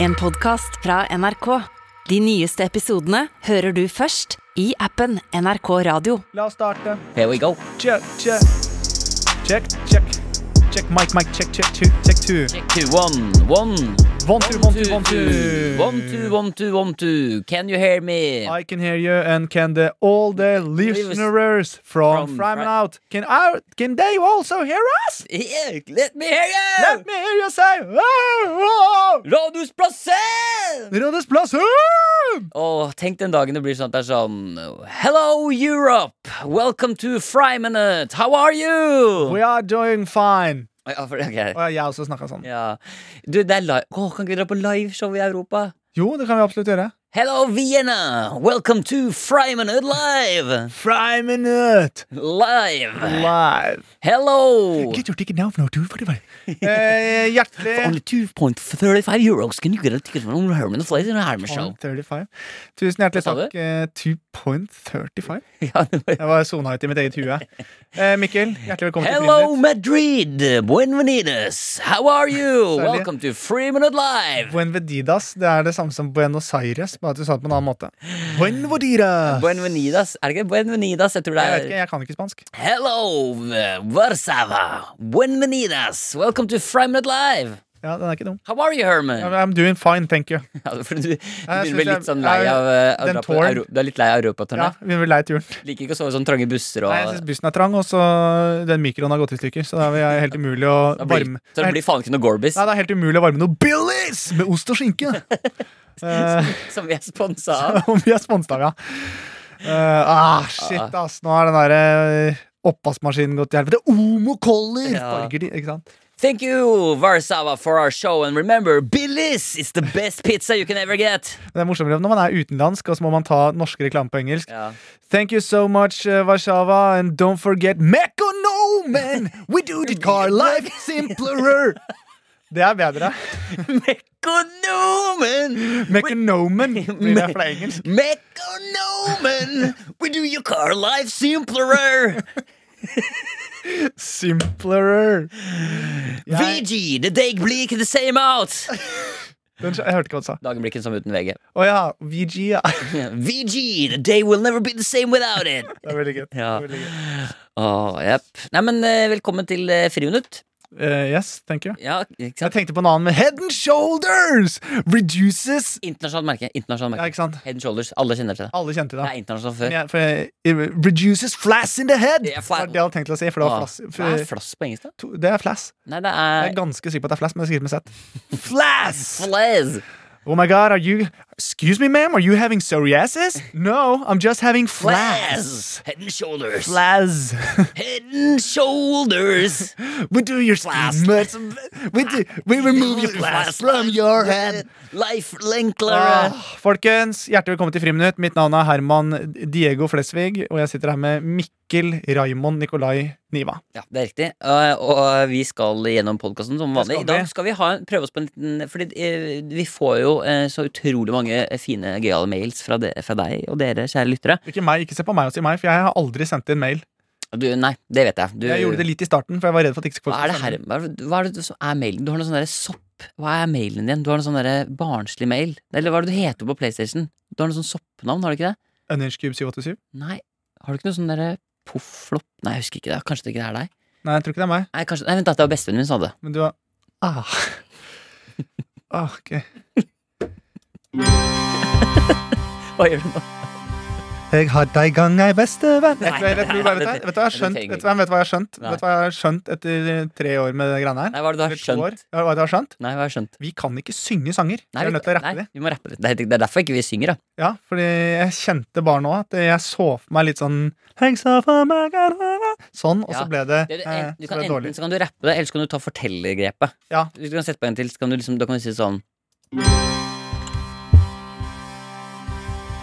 En podcast fra NRK. De nyeste episodene hører du først i appen NRK Radio. La oss starte. Here we go. Check, check. Check, check. Check, mic, mic, check, check, two, check, two. Check two, one, one. One, two, one, two, one, two. One, two, one, two, one, two. Can you hear me? I can hear you and can the all the listeners from, From Frame Fri- Out can I, can they also hear us? Yeah, let me hear you! Let me hear you say wow, wow. Radius Plassen! Rådhusplassen! Åh, tenk den dagen det blir sånn at det er sånn Hello, Europe! Welcome to Fry Minute! How are you? We are doing fine. Ja, for, ok. Og jeg har også snakket sånn. ja. Du, det er live Åh, Kan ikke vi dra på liveshow i Europa? Jo, det kan vi absolutt gjøre. Hello, Vienna! Welcome to Fry Minute Live! Fry minute Live! live. Hello! Get your ticket now for no two forty-five. Eh, hjertelig For only 2.35 euros can you get a ticket for Norman Herman Flight in a Herman show. 2.35. Tusen hjertelig Hva sa takk. eh, 2.35. Ja, det var- Jeg var sona ut i mitt eget hue. Eh, Mikkel, hjertelig velkommen Hello til Madrid, Buenvenidos, how are you? Særlig. Welcome to Free Minute Live. Buenvedidas. Det er det samme som Buenos Aires, bare at du sa det på en annen måte. Buenvedidas. Buenvenidas, er det ikke Buenvenidas? Jeg tror det Jeg vet ikke, er jeg kan ikke spansk. Hello eh, Warszawa, Buenvenidas, welcome to Free Minute Live. Ja, den er ikke dum. How are you, Herman? I'm doing fine, thank you. Ja, for du, du synes begynner å bli litt jeg- sånn lei av eh, å den dra på tåren. Euro- Du er litt lei av Ja, Europaturné? vi blir lei turen. Liker ikke å sove i sånne trange busser Nei, jeg og syns bussen er trang, og så den mikroen har gått i stykker. Så det er helt umulig å Da blir- varme Så det blir faen ikke noe Gorbis, Nei, det er helt umulig å varme noe Billies med ost og skinke. Eh, som vi er sponsa av. Om vi er sponsa, ja. Eh, ah, shit, ass. Nå er den derre oppvaskmaskinen gått til helvete. Omo Color! Ja. Farger de, ikke sant? Thank you, Warsawa, for our show. And remember, Billis is the best pizza you can ever get. Men Det er morsommere når man er utenlandsk, og så må man ta norske reklame på engelsk. Ja. Thank you so much, eh, Warszawa, and don't forget Mekonomen! We do the car life simpler! Det er bedre. Mekonomen! Mekonomen blir det fra engelsk. Mekonomen! We do your car life simpler! Simpler. Jeg, VG, the dag blir ikke the same out! den, jeg hørte ikke hva du sa. Dagen blir ikke som uten VG. Å ja. VG, ja. VG, the day will never be the same without it! Det er veldig gøy. Det Ja. er veldig gøy. Åh, jepp. Nei, men eh, velkommen til eh, Friminutt. Eh, yes, thank you. Ja, ikke Jeg sant? tenkte på en annen med Head and Shoulders Reduces Internasjonalt merke. Ja, Internasjonalt merke. ikke sant? Head and shoulders. Alle kjenner til det. Alle kjente Det det. er Men internasjonalt før. jeg- for jeg- Reduces flass in the head! Det Det er er fla- det jeg hadde tenkt å si. For det, var flass. Åh, for, det Ah, er flass på engelsk, da? to, det er flass. Nei, det Jeg er er ganske sikker på at det er flass, men det skrives med Z. Flass! Flass! Oh my god, are you Excuse me, ma'am, are you having psoriasis? No, I'm just having flass. Flass! Head and shoulders. Flass. Head and shoulders. We do your Flass. flass. We, do, we remove your flass from your head. Life lenklere. Ah, folkens, hjertelig velkommen til Friminutt. Mitt navn er Herman Diego Flesvig, og jeg sitter her med Mikkel Raimond Nikolai Niva. Ja, det er riktig. Eh, Og vi skal gjennom podkasten som vanlig. Det skal I dag vi. skal vi ha, en- prøve oss på en liten Fordi eh, vi får jo eh, så utrolig mange fine, gøyale mails fra, de, fra deg og dere, kjære lyttere. Ikke meg, ikke se på meg og si meg, for jeg har aldri sendt inn mail. Du, nei, det vet jeg. Du, Jeg gjorde det litt i starten, for jeg var redd for at ikke folk Hva er det skulle her sende Hva er, hva er det som er mailen? Du har noe sånn derre sopp Hva er mailen din? Du har noe sånn derre barnslig mail Eller hva er det du heter på Playstation? Du har noe sånn soppnavn, har du ikke det? inn. Unhinged Cube 787? Nei, har du ikke noe sånn derre Poff-flopp? Nei, jeg husker ikke det Kanskje det ikke er deg? Nei, jeg tror ikke det er meg. Nei, kanskje, nei vent da, det var bestevennen min som hadde det. Men du har ah. ah, ok. Hva gjør du nå? Jeg hadde i gang ei bestevenn Nei, Vet du vet du hva jeg nei, vet du hva jeg har det skjønt? trenger Vet du hva jeg- vet du hva jeg har skjønt? Nei. Vet du hva jeg har skjønt etter tre år med det greiene her? Nei, hva er det du har Eller to år? skjønt? Ja, Hva er det jeg har skjønt? Nei, hva har jeg skjønt? Vi kan ikke synge sanger. Vi Nei, er nødt til å rappe nei, de. vi må rappe litt Det er- Det er derfor ikke vi synger da Ja, fordi jeg kjente bare nå at jeg så for meg litt sånn Thanks so for my God, Sånn, og Ja, så ble det, Det- det- eh, en- du så kan, ble det dårlig. Enten så kan du rappe det, eller så kan du ta fortellergrepet Ja. Hvis du kan sette på en til, så kan du liksom Da kan du si sånn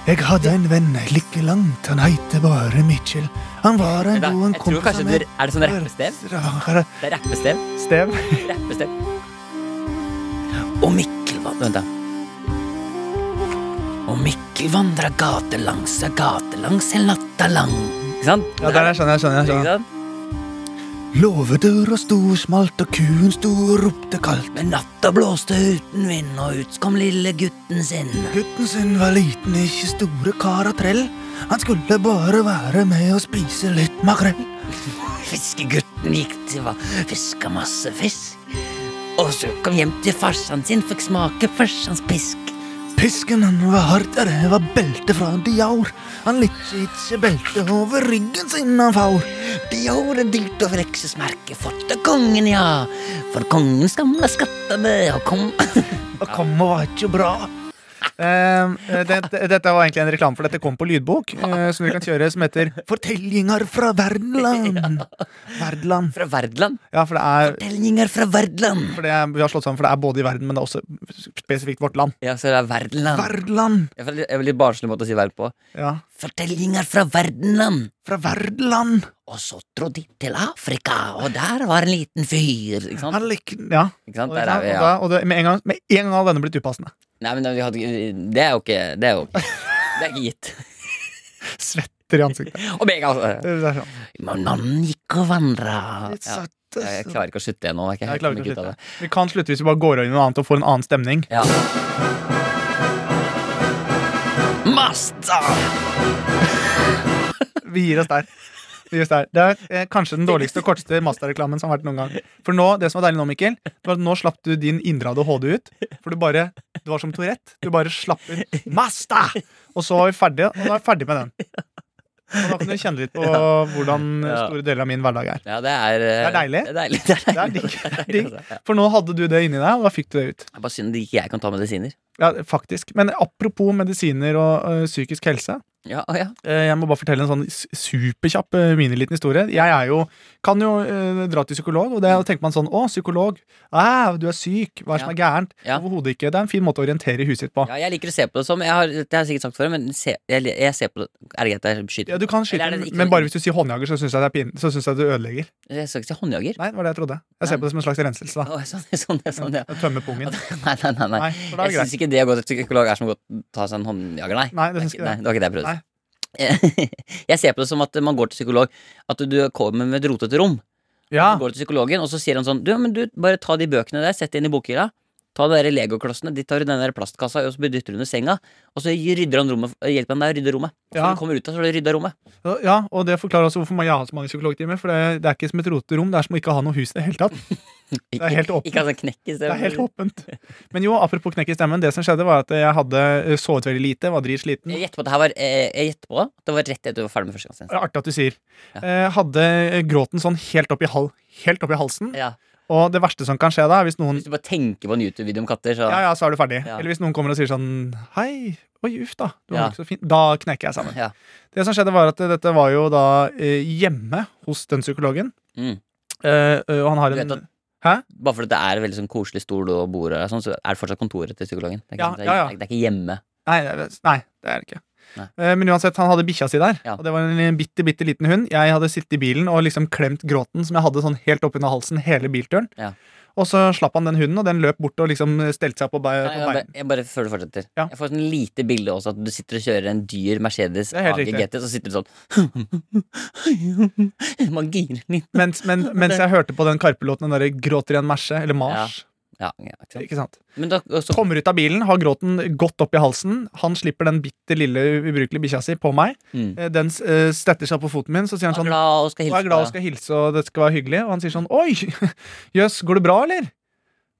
Jeg hadde en venn like langt, han heite bare Mitchell. Han var en Vent da, god en Jeg tror kanskje du Er det sånn rappestev? Rare Det er rappestev stev. Rappestev. Og Mikkel van- Vent, da. Og Mikkel vandra gatelangs og gatelangs en natta lang. Ikke sant? Ja, der jeg skjønner jeg. skjønner, jeg Ikke skjønner. sant? Låvedøra sto smalt, og kuen sto og ropte kaldt. Men natta blåste uten vind, og ut kom lille gutten sin. Gutten sin var liten, ikke store kar og trell. Han skulle bare være med og spise litt makrell. Fiskegutten gikk til og fiska masse fisk. Og så kom hjem til farsan sin, fikk smake farsans pisk. Pisken han var hard, og det var belte fra Dior. Han likte ikke belte over ryggen sin han faur. De gjorde dyrt over reksesmerket, fått av kongen, ja. For kongen skamla skattene, og kom Og kommet var ikke bra. Ehm, eh, dette var egentlig en reklame for dette kom på lydbok, eh, som vi kan kjøre, som heter 'Fortellinger fra Verdeland'. Verdeland. Fra Verdland. Ja, for det er Tellinger fra Verdland. for det er, vi har slått sammen, for det er både i verden, men det er også spesifikt vårt land. Ja, så det er Verdland. Verdeland! Jeg føler- jeg er veldig barnslig måte å si verd på. Ja. Fortellinger fra verdenland. Fra Verdeland! Og så dro de til Afrika, og der var en liten fyr. Ikke sant? Han likte Ja. Ikke sant? Og, Der er vi, og ja. da- og det, med, en gang, med en gang hadde denne blitt upassende. Nei, men vi hadde, det er jo ikke Det er jo ikke, det er ikke gitt. Svetter i ansiktet. Og meg, altså. Det er sånn. Men Mannen gikk og vandra. Litt Ja, søtt. jeg, jeg altså. klarer ikke å slutte ennå. Jeg, Jeg er ikke klarer helt ikke å kommet ut av slutte. det. Vi kan slutte hvis vi bare går over i noe annet og får en annen stemning. Ja. Master! Vi gir oss der. Vi gir oss der. Det er eh, kanskje den dårligste og korteste Masta-reklamen som har vært noen gang. For nå, det som var deilig nå, Mikkel, det var at nå slapp du din indre ADHD ut. For du bare Du var som Tourette. Du bare slapp ut Masta! Og så var vi ferdige, og nå er vi ferdig med den. Og nå kan du kjenne litt på hvordan Ja. store deler av min hverdag er. Ja, det er eh, Det er deilig. Det er deilig. Det Det er er deilig. digg. Det er digg. altså. Ja. For nå hadde du det inni deg, og da fikk du det ut. Det er Bare synd det ikke jeg kan ta medisiner. Ja, faktisk. Men apropos medisiner og øh, psykisk helse. Ja, å, ja. Eh, Jeg må bare fortelle en sånn s- superkjapp eh, miniliten historie. Jeg er jo, kan jo eh, dra til psykolog, og det og tenker man sånn Å, psykolog. Æ, du er syk. Hva er det som er gærent? Mm. Ja. Overhodet ikke. Det er en fin måte å orientere huset sitt på. ja, jeg liker å se på det som Jeg har, det har jeg sikkert sagt før, men se, jeg, jeg ser på det Er det greit at jeg Ja, skyter? du kan Eller skyte, er det den, ikke- men bare hvis du sier håndjager, så syns jeg det er pin, så synes jeg du ødelegger. Jeg skal ikke si håndjager. Nei, det var det jeg trodde. Jeg ser Nei. på det som en slags renselse, da. Å, sånn, sånn, sånn, ja. Jeg tømmer pungen. Nei, nei, nei. nei. Nei, for da er Jeg det greit. syns ikke det å gå til psykolog er som å gå- ta seg en håndjager, nei. Nei, det er synes ikke det. nei, det var ikke det jeg prøvde. jeg ser på det som at man går til psykolog, at du kommer med et rotete rom. Ja, Så går du til psykologen, og så sier han sånn Du, men du, bare ta de bøkene der, sett det inn i bokhylla. Ta de der legoklossene, de tar du den der plastkassa, og så bare dytter du under senga. Og så rydder han rommet, hjelper han deg å rydde rommet. Så Ja. når du kommer ut av, så har du rydda rommet. ja, og det forklarer også hvorfor jeg har så mange psykologtimer. For det, det er ikke som et rotete rom, det er som å ikke ha noe hus i det hele tatt. Det er helt åpent. Ikke altså knekk i Det stedet. er helt åpent. Men jo, apropos knekk i stemmen. Det som skjedde, var at jeg hadde eh, sovet veldig lite, var dritsliten. Jeg gjetter på at det her var eh, Jeg gjetter på at det var rett etter du var ferdig med Det førstegangstjenesten. er Artig at du sier. Eh, Hadde eh, gråten sånn helt opp i, hal helt opp i halsen. Ja. Og det verste som kan skje da, er hvis noen Hvis du bare tenker på en YouTube-video om katter, så Ja, ja, så er du ferdig. Ja. Eller hvis noen kommer og sier sånn Hei, oi, uff da. Du var Ja. ikke så fin. Da knekker jeg sammen. Ja. Det som skjedde, var at eh, dette var jo da eh, hjemme hos den psykologen. Mm. Eh, eh, Og han har Du vet en at- Bare fordi det er veldig sånn koselig stol og bord, og sånn, så er det fortsatt kontoret til psykologen. Det er ikke, Ja, sånn- det er, ja, ja. Det er, det er ikke hjemme. Nei, det er- nei, det er det ikke. Nei. Eh, Men uansett, han hadde bikkja si der, Ja. og det var en bitte, bitte liten hund. Jeg hadde sittet i bilen og liksom klemt gråten som jeg hadde sånn helt oppunder halsen hele bilturen. Ja. Og så slapp han den hunden, og den løp bort og liksom stelte seg på, bei- Nei, på jeg, beina. bare, jeg bare Før du fortsetter. Ja. Jeg får sånn lite bilde også at du sitter og kjører en dyr Mercedes Det er helt AG riktig. GT, så sitter du sånn Man girer litt. Mens, men, mens jeg hørte på den Karpe-låten, den derre 'Gråter i en merse', eller 'Mars'. Ja, ja, ikke sant. Ikke sant? Men da, og så, Kommer ut av bilen, har gråten godt opp i halsen. Han slipper den bitte lille ubrukelige bikkja si på meg. mm. Eh, Den eh, stetter seg på foten min, så sier han Han er sånn glad og skal Og hilse er glad og på deg. skal hilse, og det skal være hyggelig. Og han sier sånn Oi, jøss, går det bra, eller?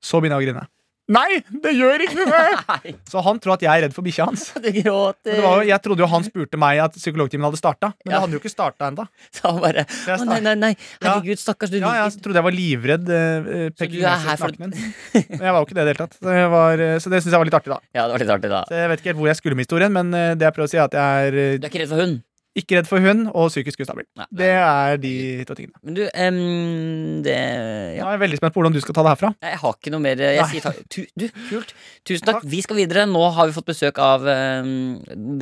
Så begynner jeg å grine. Nei, det gjør ikke det! Nei, Så han tror at jeg er redd for bikkja hans. du gråter. Men det var jo, jeg trodde jo han spurte meg at psykologtimen hadde starta, men Ja. det hadde jo ikke starta ennå. Så han bare Å, nei, nei, nei. Ja. Herregud, stakkars, du Ja, jeg liker trodde jeg var livredd eh, eh, Så du er her pekinesisk for naken. Men jeg var jo ikke det i det hele tatt. Så, jeg var, eh, så det syns jeg var litt artig, da. Ja, det var litt artig, da. Så jeg vet ikke helt hvor jeg skulle med historien, men eh, det jeg prøver å si, er at jeg er Du eh, er ikke redd for hund? ikke redd for hund og psykisk ustabil. Nei. Det er de to tingene. Men du, em, det Nå Ja. er jeg veldig spent på hvordan du skal ta det herfra. Nei, Jeg har ikke noe mer eh, jeg Nei. sier takk. Tu, du, kult. Tusen takk. Takk. Vi skal videre. Nå har vi fått besøk av ehm,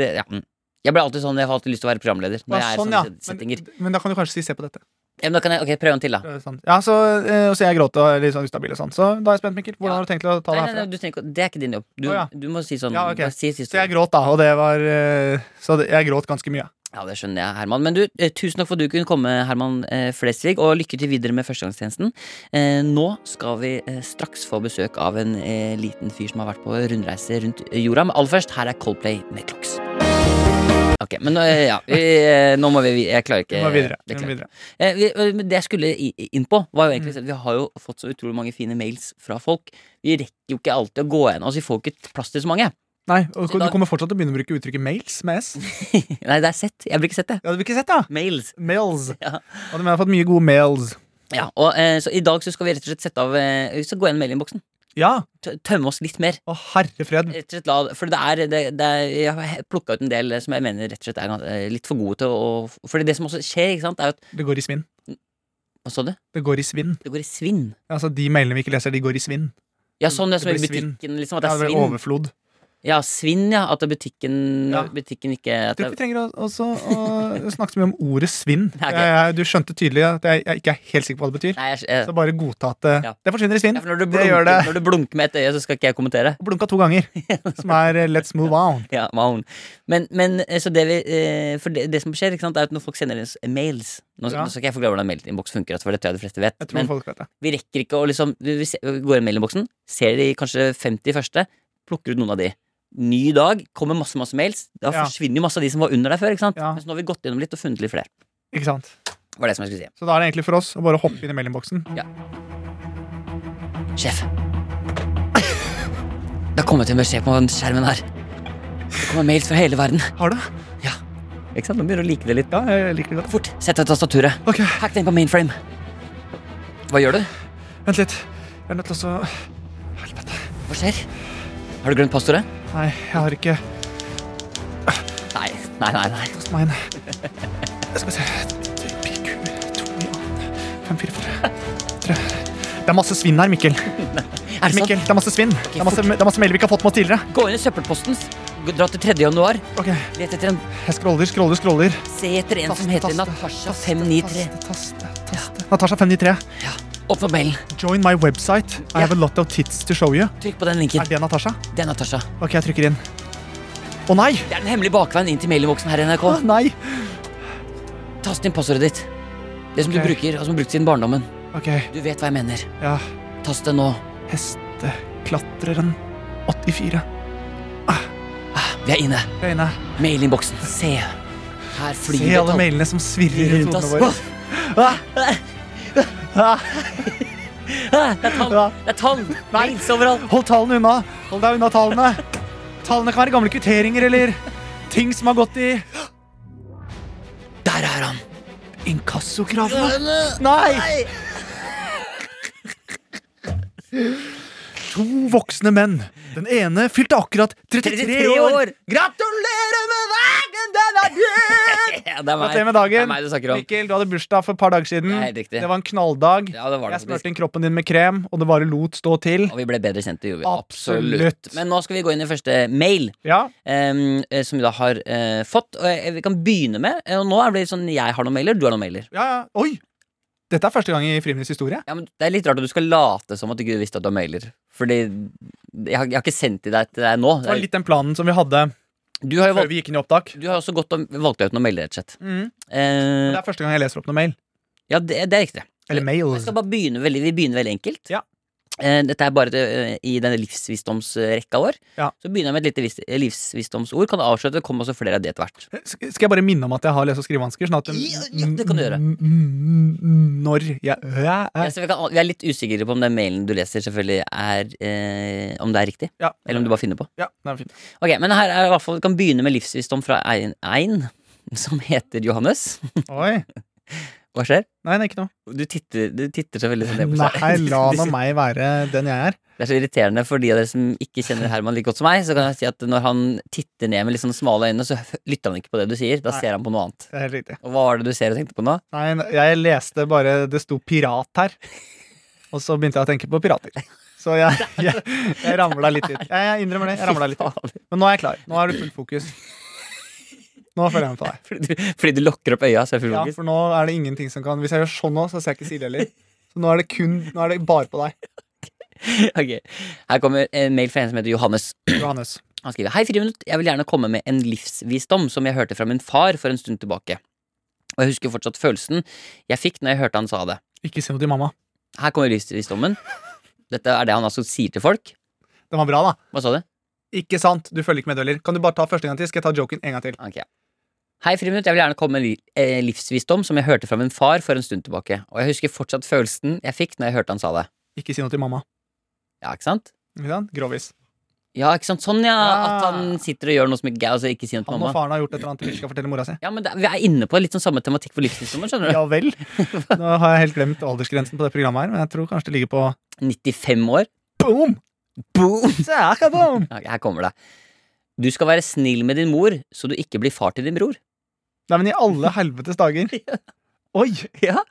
det, ja. mm. Jeg ble alltid sånn, jeg har alltid lyst til å være programleder. Når Ja, jeg er sånn, i sånne ja. set- settinger Men, men da kan du kanskje si 'se på dette'. ja, men da kan jeg, Ok, prøv en til, da. Eh, Sånn. Ja, så, eh, og så jeg gråt og er litt sånn ustabil og sånn. Så da er jeg spent, Mikkel. Hvordan Ja. har du tenkt å ta Nei, det nei, nei, herfra? du trenger ikke, det er ikke din jobb. Du, Å, ja. du må si sånn. Ja, ok. bare Si, si, Så jeg gråt, da, og det var eh, Så det- jeg gråt ganske mye. Ja, det skjønner jeg, Herman. Men du, eh, tusen takk for at du kunne komme, Herman eh, Flesvig, og lykke til videre med førstegangstjenesten. Eh, nå skal vi eh, straks få besøk av en eh, liten fyr som har vært på rundreise rundt jorda. Men aller først, her er Coldplay med Clocks. Ok, men eh, ja, vi, eh, nå må vi vi- Jeg klarer ikke Vi må videre. det Vi må klarer jeg videre. ikke. Mm. Eh, vi, eh, men det jeg skulle i- i- inn på, var jo egentlig sånn at vi har jo fått så utrolig mange fine mails fra folk. Vi rekker jo ikke alltid å gå gjennom. Altså, vi får ikke plass til så mange. Nei, og Så Du i dag- kommer fortsatt til å begynne å bruke uttrykket mails med s. Ja, Nei, det er sett. Jeg blir ikke sett, jeg. det har vi ikke sett, da. Mails. Mails. Ja. Og de har fått mye gode mails. Ja, og eh, så I dag så skal vi rett og slett sette av eh, Vi skal gå gjennom mailinnboksen. Ja. Tø- Tømme oss litt mer. Å, herre fred. Rett og slett la, for det er, det, det er Jeg har plukka ut en del som jeg mener rett og slett er gans- eh, litt for gode til å Fordi det som også skjer, ikke sant, er jo at Det går i svinn. Hva sa du? Det går i svinn. Det går i svinn. Altså, De mailene vi ikke leser, de går i svinn. Ja, sånn det er som Det i blir svinn. butikken, liksom. At Ja, det er det blir svinn. overflod. Ja, svinn, ja. At det er butikken, Ja. butikken ikke Jeg at tror det, ikke vi trenger å, også, å snakke så mye om ordet svinn. Nei, ok. Jeg- jeg- Du skjønte tydelig at jeg, jeg ikke er helt sikker på hva det betyr. Nei, jeg, jeg, Så bare godta at det, Ja. det forsvinner i svinn. ja, for når, du det gjør blunker, det. når du blunker med et øye, så skal ikke jeg kommentere. Blunka to ganger. Som er eh, Let's move on. Ja, Mahon. Men, men eh, så det vi eh, For det, det som skjer, ikke sant, er at når folk sender oss mails Nå, Ja. nå skal ikke jeg forklare hvordan mailinnboks funker, altså, for det tror jeg de fleste vet. Jeg tror Men folk vet det. vi rekker ikke å liksom Vi, vi se- vi går inn i mailinnboksen, ser de kanskje 50 første, plukker ut noen av de. Ny dag, kommer masse masse mails. Da Ja. forsvinner jo masse av de som var under der før. ikke sant? Ja. Men så nå har vi gått gjennom litt og funnet litt flere. Ikke sant? Var det som jeg skulle si. Så da er det egentlig for oss å bare hoppe inn i mailinnboksen. Sjef. Det har kommet en beskjed på den skjermen her. Det kommer mails fra hele verden. Har du? Ikke sant? Nå begynner du å like det litt. Ja, jeg liker det godt. Fort, sett deg tastaturet. Ok, Hack den på mainframe. Hva gjør du? vent litt. Jeg er nødt til å Helvete. Hva skjer? Har du glemt passordet? Nei, jeg har ikke Nei, nei, nei. nei. Post meg inn. Jeg skal se PQ, to, ja. Fem, fire, fire. Tre. Det er masse svinn her, Mikkel. Er det Mikkel, sant? det er masse svinn. Det er masse, fort. det er masse mailer vi ikke har fått med oss tidligere. Gå inn i søppelposten. Gå- Dra til 3. januar. Ok, Let etter en Jeg scroller, scroller, scroller. Se etter en som heter Natasha 593. Taste, taste, taste. Natasha 593. Åpne mailen. Join my website. I have a lot of tits to show you. Trykk på den Er linken. det Natasha? Det er Natasha. Ok, jeg trykker inn. Å nei! Det er den hemmelige bakveien inn til mailinnboksen her i NRK. Å nei! Tast inn passordet ditt. Det som du Ok. bruker, og som du har brukt siden barndommen. Ok, Du vet hva jeg mener. ja. Tast det nå. Hesteklatreren 84. Ah, Vi er inne. Jeg er inne. Mailinnboksen. Se. Her Se flyr alle det mailene som svirrer rundt rundt oss. hodene våre. Ah, ah, Ah, Det er tall! ah. Det er tall! Mails overalt. Hold tallene unna. Hold deg unna tallene. Tallene kan være gamle kvitteringer eller ting som har gått i Der er han. inkassokravene. Nei! To voksne menn. Den ene fylte akkurat 33, 33 år. år. Gratulerer med dagen! Den er din! Ja, det er Gratulerer meg. med Det er dagen. meg du snakker om. Mikkel, du hadde bursdag for et par dager siden. Det er helt riktig. Det var en knalldag. Ja, det var det jeg faktisk. smurte inn kroppen din med krem, og det bare lot stå til. Og vi ble bedre kjent, det gjorde vi. Absolutt. Men nå skal vi gå inn i første mail, Ja, em, eh, som vi da har eh, fått. Og eh, vi kan begynne med eh, Og nå er det litt sånn jeg har noen mailer, du har noen mailer. ja, ja. Oi! Dette er første gang i Friminuts historie. Ja, men Det er litt rart at du skal late som at du ikke visste at du har mailer. Fordi jeg har, jeg har ikke sendt de deg til deg nå. Det var litt den planen som vi hadde Du har jo før valgt, vi gikk inn i opptak. du har også gått og valgt deg ut noen mailer, rett og slett. Mm. Eh, Det er første gang jeg leser opp noe mail. ja, det, det er riktig. Eller mail. Jeg skal bare begynne veldig, vi begynner veldig enkelt. Ja. Eh, Dette er bare eh, i denne livsvisdomsrekka vår. Ja. Så begynner jeg med et lite vis- eh, livsvisdomsord. Kan avsløre at det kommer også flere av det etter hvert. Sk- Skal jeg bare minne om at jeg har lese- og skrivevansker? Sånn at Ja, ja, det kan du gjøre. Mm, mm, mm, Når jeg ja, Ja, ja. så vi, kan, vi er litt usikre på om den mailen du leser, selvfølgelig er eh, Om det er riktig, Ja, eller om du bare finner på. ja, det er fint. Ok, Men her er i hvert fall, vi kan begynne med livsvisdom fra Ein, ein som heter Johannes. Oi. Hva skjer? Nei, det er ikke noe. Du titter, du titter så veldig sånn ned på seg. Nei, la Du nå meg være den jeg er. Det er så irriterende for de av dere som ikke kjenner Herman like godt som meg. Så kan jeg si at Når han titter ned med litt sånn smale øyne, så hø- lytter han ikke på det du sier. Da Nei. ser han på noe annet. Det er helt riktig. Og hva var det du ser og tenkte på nå? Nei, jeg leste bare Det sto pirat her. Og så begynte jeg å tenke på pirater. Så jeg, jeg, jeg ramla litt ut. Jeg, jeg innrømmer det. jeg ramla litt ut. Men nå er jeg klar. Nå er du fullt fokus. Nå følger jeg med på deg. Fordi du, fordi du lokker opp øya, så er jeg full Ja, fokus. for nå er det ingenting som kan Hvis jeg gjør sånn nå, så ser jeg ikke Silje heller. Så nå er det kun Nå er det bare på deg. Ok. Her kommer en mail fra en som heter Johannes. Johannes. Han skriver Hei, Friminutt. Jeg vil gjerne komme med en livsvisdom som jeg hørte fra min far for en stund tilbake. Og jeg husker fortsatt følelsen jeg fikk når jeg hørte han sa det. Ikke si noe til mamma. Her kommer livsvisdommen. Dette er det han altså sier til folk. Den var bra, da. Hva sa du? Ikke sant? Du følger ikke med, du heller. Kan du bare ta første gang til? Skal jeg ta joken en gang til? Ok. Hei, Friminutt. Jeg vil gjerne komme med li- eh, livsvisdom som jeg hørte fra min far for en stund tilbake. Og jeg husker fortsatt følelsen jeg fikk når jeg hørte han sa det. Ikke si noe til mamma. Ja, ikke sant? Ikke sant? Grovis. Ja, ikke sant? Sånn, ja. Ah. At han sitter og gjør noe som ikke altså ikke sier noe til Han og mamma. faren har gjort et eller annet vi ikke skal fortelle mora si. Ja, men det, Vi er inne på litt sånn samme tematikk for livsvisdommen, skjønner du. Ja vel. Nå har jeg helt glemt aldersgrensen på det programmet her, men jeg tror kanskje det ligger på 95 år. boom! Boom! Boom! Ok, her kommer det. Du skal være snill med din mor, så du ikke blir far til din bror. Nei, men i alle helvetes dager. Oi! Ja.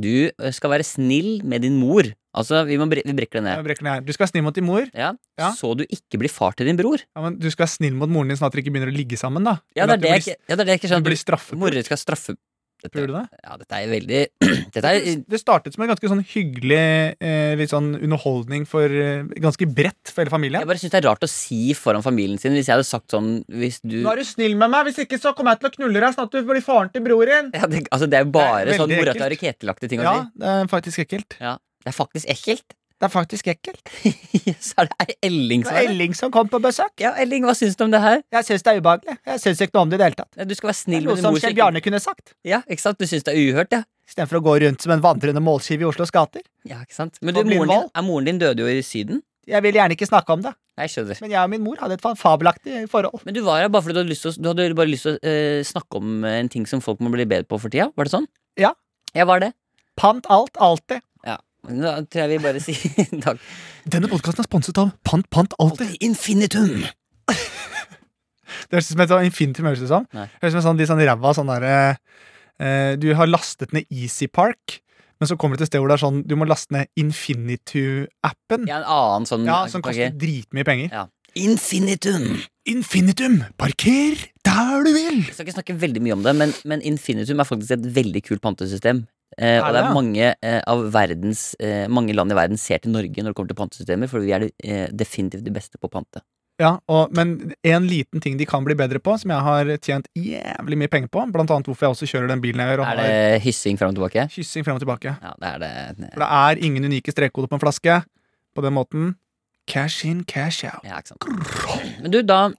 Du eh, skal være snill med din mor. Altså, vi, må bre vi brekker det ned. Jeg brekker ned her. Du skal være snill mot din mor. Ja. Ja. Så du ikke blir far til din bror. Ja, men du skal være snill mot moren din, sånn at dere ikke begynner å ligge sammen, da. Ja, Eller at du det er det jeg blir- ikke, ja, det er det jeg ikke Du blir skjønner. straffet. Morer skal straffe dette, Gjør du det? ja, dette er veldig Dette er Det startet som en ganske sånn hyggelig eh, litt sånn underholdning for eh, ganske bredt for hele Jeg familien. bare syns det er rart å si foran familien sin hvis jeg hadde sagt sånn Hvis du Nå er du snill med meg, hvis ikke så kommer jeg til å knulle deg, sånn at du blir faren til broren. ja, det, Altså, det er jo bare Det er sånn veldig morata ekkelt. raketelaktige ting å Ja, si. det er faktisk ekkelt. Det er faktisk ekkelt. Det er faktisk ekkelt. Så er det Elling som er det. Elling som kom på besøk. Ja, Elling, hva syns du om det her? Jeg syns det er ubehagelig. Jeg syns ikke noe om det i det hele tatt. Nei, Du skal være snill med din mor. så ikke- kunne sagt. Ja, ikke sant? Du syns det er uhørt, ja. Istedenfor å gå rundt som en vandrende målskive i Oslos gater. ja ikke sant? Men du, Hva blir en moren din, hval? er moren din døde jo i Syden. Jeg vil gjerne ikke snakke om det, Nei, Jeg skjønner. men jeg og min mor hadde et fabelaktig forhold. Men du var her bare fordi du hadde lyst til å, du hadde bare lyst til å eh, snakke om eh, en ting som folk må bli bedre på for tida. Var det sånn? Ja. Jeg var det. Pant alt, alltid. Da tror jeg vi bare sier takk. Denne podkasten er sponset av Pant, pant, alltid. Infinitum! Det høres ut som et sånn infinitum. Høres det som. Nei. Høres ut som en sånn, de sånn ræva sånn derre eh, Du har lastet ned Easy Park, men så kommer du til et sted hvor det er sånn du må laste ned Infinitu-appen. Ja, Ja, en annen sånn Som ok. koster dritmye penger. Ja. Infinitum! Infinitum! Parker der du vil! Jeg skal ikke snakke veldig mye om det, men, men Infinitum er faktisk et veldig kult pantesystem. Er Eh, og det det? er mange, eh, av verdens, eh, mange land i verden ser til Norge når det kommer til pantesystemer, for vi er det, eh, definitivt de beste på pante. Ja, og, Men en liten ting de kan bli bedre på, som jeg har tjent jævlig mye penger på, blant annet hvorfor jeg også kjører den bilen jeg gjør, og Er det har hyssing fram og tilbake? kyssing frem og tilbake. Ja, det er det. For det er ingen unike strekkoder på en flaske på den måten. Cash in, cash out. Ja, ikke sant. Men du, da,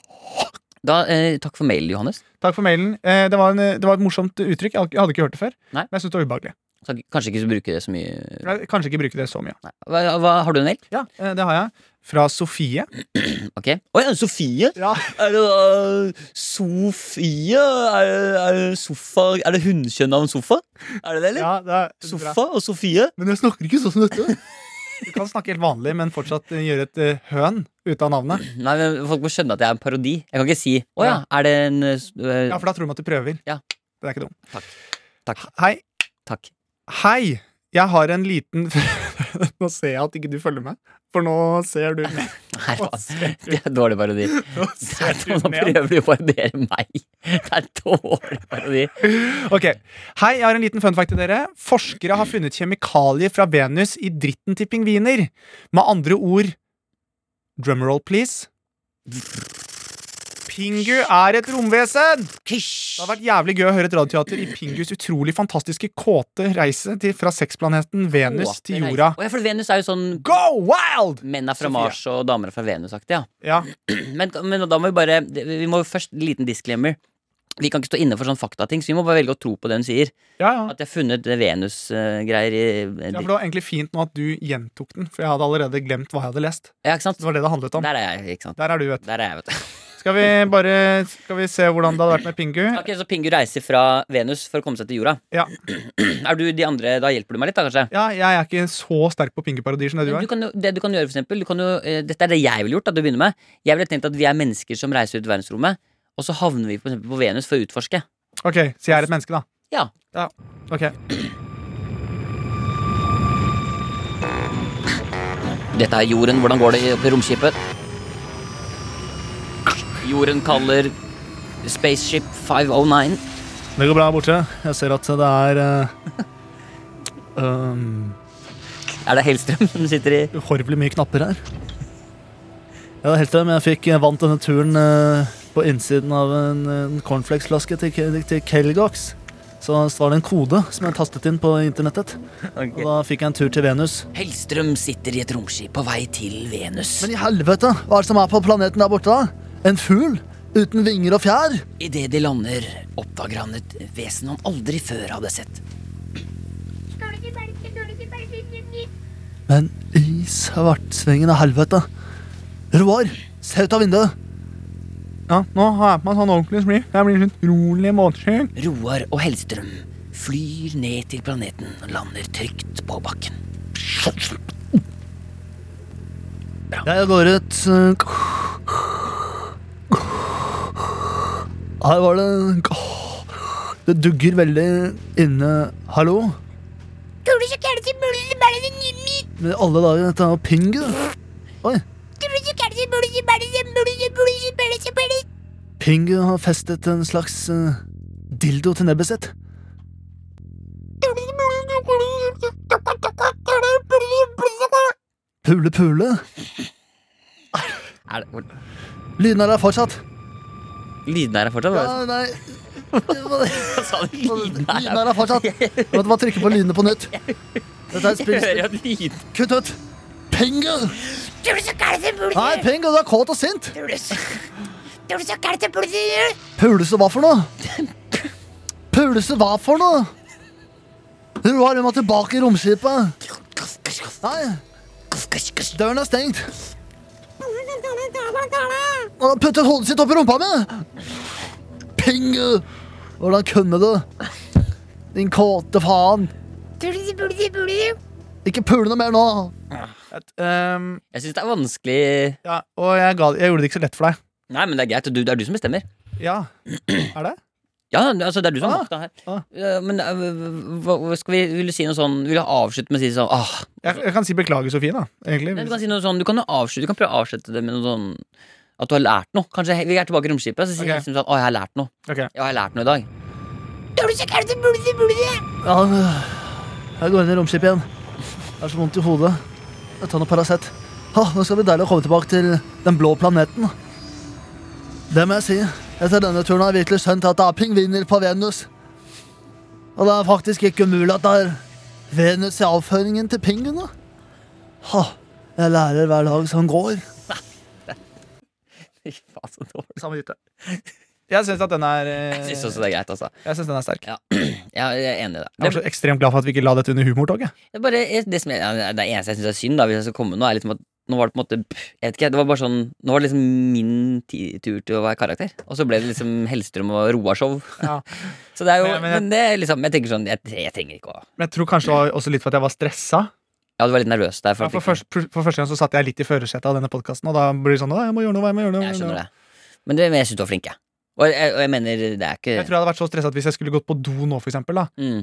da eh, Takk for mailen, Johannes. Takk for mailen. Eh, det, var en, det var et morsomt uttrykk. Jeg hadde ikke- jeg hadde ikke hørt det før. Nei. Men jeg syns det var ubehagelig. Så kanskje ikke så bruke det så mye Jeg Kanskje ikke bruke det så mye. Nei. hva, hva, Har du en mail? Ja, eh, Det har jeg. Fra Sofie. Ok. Å ja, Sofie! Ja. Er det øh, Sofie? Er det, er det sofa Er det hundekjønn av en sofa? Er det det, eller? det er Sofa og Sofie? Men jeg snakker ikke sånn som dette. Du kan snakke helt vanlig, men fortsatt eh, gjøre et eh, høn ut av navnet. Nei, men Folk må skjønne at jeg er en parodi. Jeg kan ikke si 'Å ja, er det en øh, Ja, For da tror de at du prøver. Ja. Den er ikke dum. Takk. Takk. Hei, Takk. Hei, jeg har en liten Nå ser jeg at ikke du følger med, for nå ser du med. Nei, Nå faen. ser du, Det er en dårlig parodi. nå Det er ser sånn, du Nå ned. prøver du å parodiere meg. Det er en dårlig parodi. Ok, Hei, jeg har en liten fun fact til dere. Forskere har funnet kjemikalier fra Venus i dritten til pingviner. Med andre ord Drumroll, please. Pingu er et romvesen! Det Kysj! har vært jævlig gøy å høre et radioteater i Pingus utrolig fantastiske kåte reise til, fra sexplaneten Venus til jorda. Å ja, for Venus er jo sånn Go wild! Menn er fra Sofie. Mars og damer er fra Venus-aktig, ja. Ja, Men, men da må vi bare Vi må jo først en liten disclaimer. Vi kan ikke stå inne for sånn faktating, så vi må bare velge å tro på det hun sier. ja, ja. At jeg har funnet Venus-greier i Ja, for Det var egentlig fint nå at du gjentok den, for jeg hadde allerede glemt hva jeg hadde lest. Ja, ikke sant? Det var det det handlet om. Der er jeg, ikke sant. Der er du, vet du. Der er jeg, vet du. Skal vi bare skal vi se hvordan det hadde vært med Pingu? Ok, Så Pingu reiser fra Venus for å komme seg til jorda. Ja. Er du de andre Da hjelper du meg litt, da, kanskje? Ja, jeg er ikke så sterk på pinguparodier som det du Men er. Du kan jo, det du kan gjøre, for eksempel du kan jo, eh, Dette er det jeg ville gjort. da, til å begynne med Jeg ville tenkt at vi er mennesker som reiser ut i verdensrommet, og så havner vi for eksempel på Venus for å utforske. Ok, Så jeg er et menneske, da? Ja. Ja, ok Dette er jorden, hvordan går det oppe i romskipet? Jorden kaller Spaceship 509 Det går bra her borte. Jeg ser at det er eh, uh, um, Er det Hellstrøm som sitter i uhorvelig mye knapper her. Jeg var heldig, men jeg fikk jeg vant denne turen eh, på innsiden av en, en cornflakes-flaske til, Ke- til Kelgox. Så var det en kode som jeg tastet inn på internettet. Og da fikk jeg en tur til Venus. Hellstrøm sitter i et romskip på vei til Venus. Men i helvete, hva er det som er på planeten der borte, da? En fugl? Uten vinger og fjær? Idet de lander, oppdager han et vesen han aldri før hadde sett. Men i svartsvingen av helvete. Roar, se ut av vinduet. Ja, nå har jeg på meg sånn ordentlig smil. Jeg blir så utrolig måteskygg. Roar og Hellstrøm flyr ned til planeten og lander trygt på bakken. Jeg går ut. Her var det Det dugger veldig inne. Hallo? Men i alle dager, dette er jo pingu. Oi. Pingu har festet en slags eh, dildo til nebbet sitt. Pule, pule. Er det, Lyden er der fortsatt. lyden her er fortsatt? Ja, hva? nei Det var- Sa du lyden her? Lyden er der fortsatt. Jeg måtte bare trykke på lydene på nytt. Dette er et Jeg spill. hører at lyden Kutt ut! Pingu! Nei, Pingu, du er kåt og sint. Pulese hva for noe? Pulese hva for noe? Roar, vi må tilbake i romskipet. Nei, døren er stengt. Han har puttet hodet sitt oppi rumpa mi. Pingu! Hvordan kunne du? Din kåte faen. Ikke pule noe mer nå. Ehm, Jeg syns det er vanskelig ja, og jeg, ga, jeg gjorde det ikke så lett for deg. Nei, men det er greit. Du, det er du som bestemmer. Ja, er det? Ja, altså det er du som har Ah, makta her. ah. Ja, Men eh, hva, hva skal vi, vil du si noe sånn Vil du avslutte med å si sånn ah, Jeg, jeg kan si beklager, Sofie, da. Egentlig. Nei, du hvis- kan si noe sånn Du kan, jo avslutte, du kan prøve å avslutte det med noe sånn At du har lært noe. Kanskje he- vi er tilbake i romskipet, så sier Ok. vi liksom sånn Å, jeg har lært noe. Ok. Ja, jeg har lært noe i dag. Ja, jeg går inn i romskipet igjen. Jeg har så vondt i hodet. Jeg tar noe Paracet. Ha, nå skal det bli deilig å komme tilbake til den blå planeten. Det må jeg si. Etter denne turen har jeg virkelig skjønt at det er pingviner på Venus. Og det er faktisk ikke umulig at det er Venus i avføringen til pingene. Ha, jeg lærer hver dag som går. Fy faen, så dårlig. Samme hytte. Jeg syns at den er eh, Jeg syns også det er greit, altså. jeg synes den er sterk. Ja, jeg er enig i det. Jeg Det, er så ekstremt glad for at vi ikke la dette under humortoget. det, er bare, det, som jeg, ja, det eneste jeg syns er synd, da, hvis jeg skal komme nå, er liksom at nå var det på en måte Jeg vet ikke, det var bare sånn Nå var det liksom min ti- tur til å være karakter, og så ble det liksom Hellstrøm og Roar-show. Ja. Så det er Men jo jeg- Men, men jeg- det er liksom Jeg tenker sånn Jeg, jeg trenger ikke å Men jeg tror kanskje det var også litt for at jeg var stressa. Ja, du var litt nervøs der. Ja, at for, ikke- først, for første gang så satt jeg litt i førersetet av denne podkasten, og da blir det sånn «Å, jeg må gjøre noe, jeg må gjøre noe. Jeg gjøre noe». skjønner det. Men, det, men jeg syns du var flink, jeg. Og, jeg. og jeg mener, det er ikke Jeg tror jeg hadde vært så stresset hvis jeg skulle gått på do nå, for eksempel, da, mm.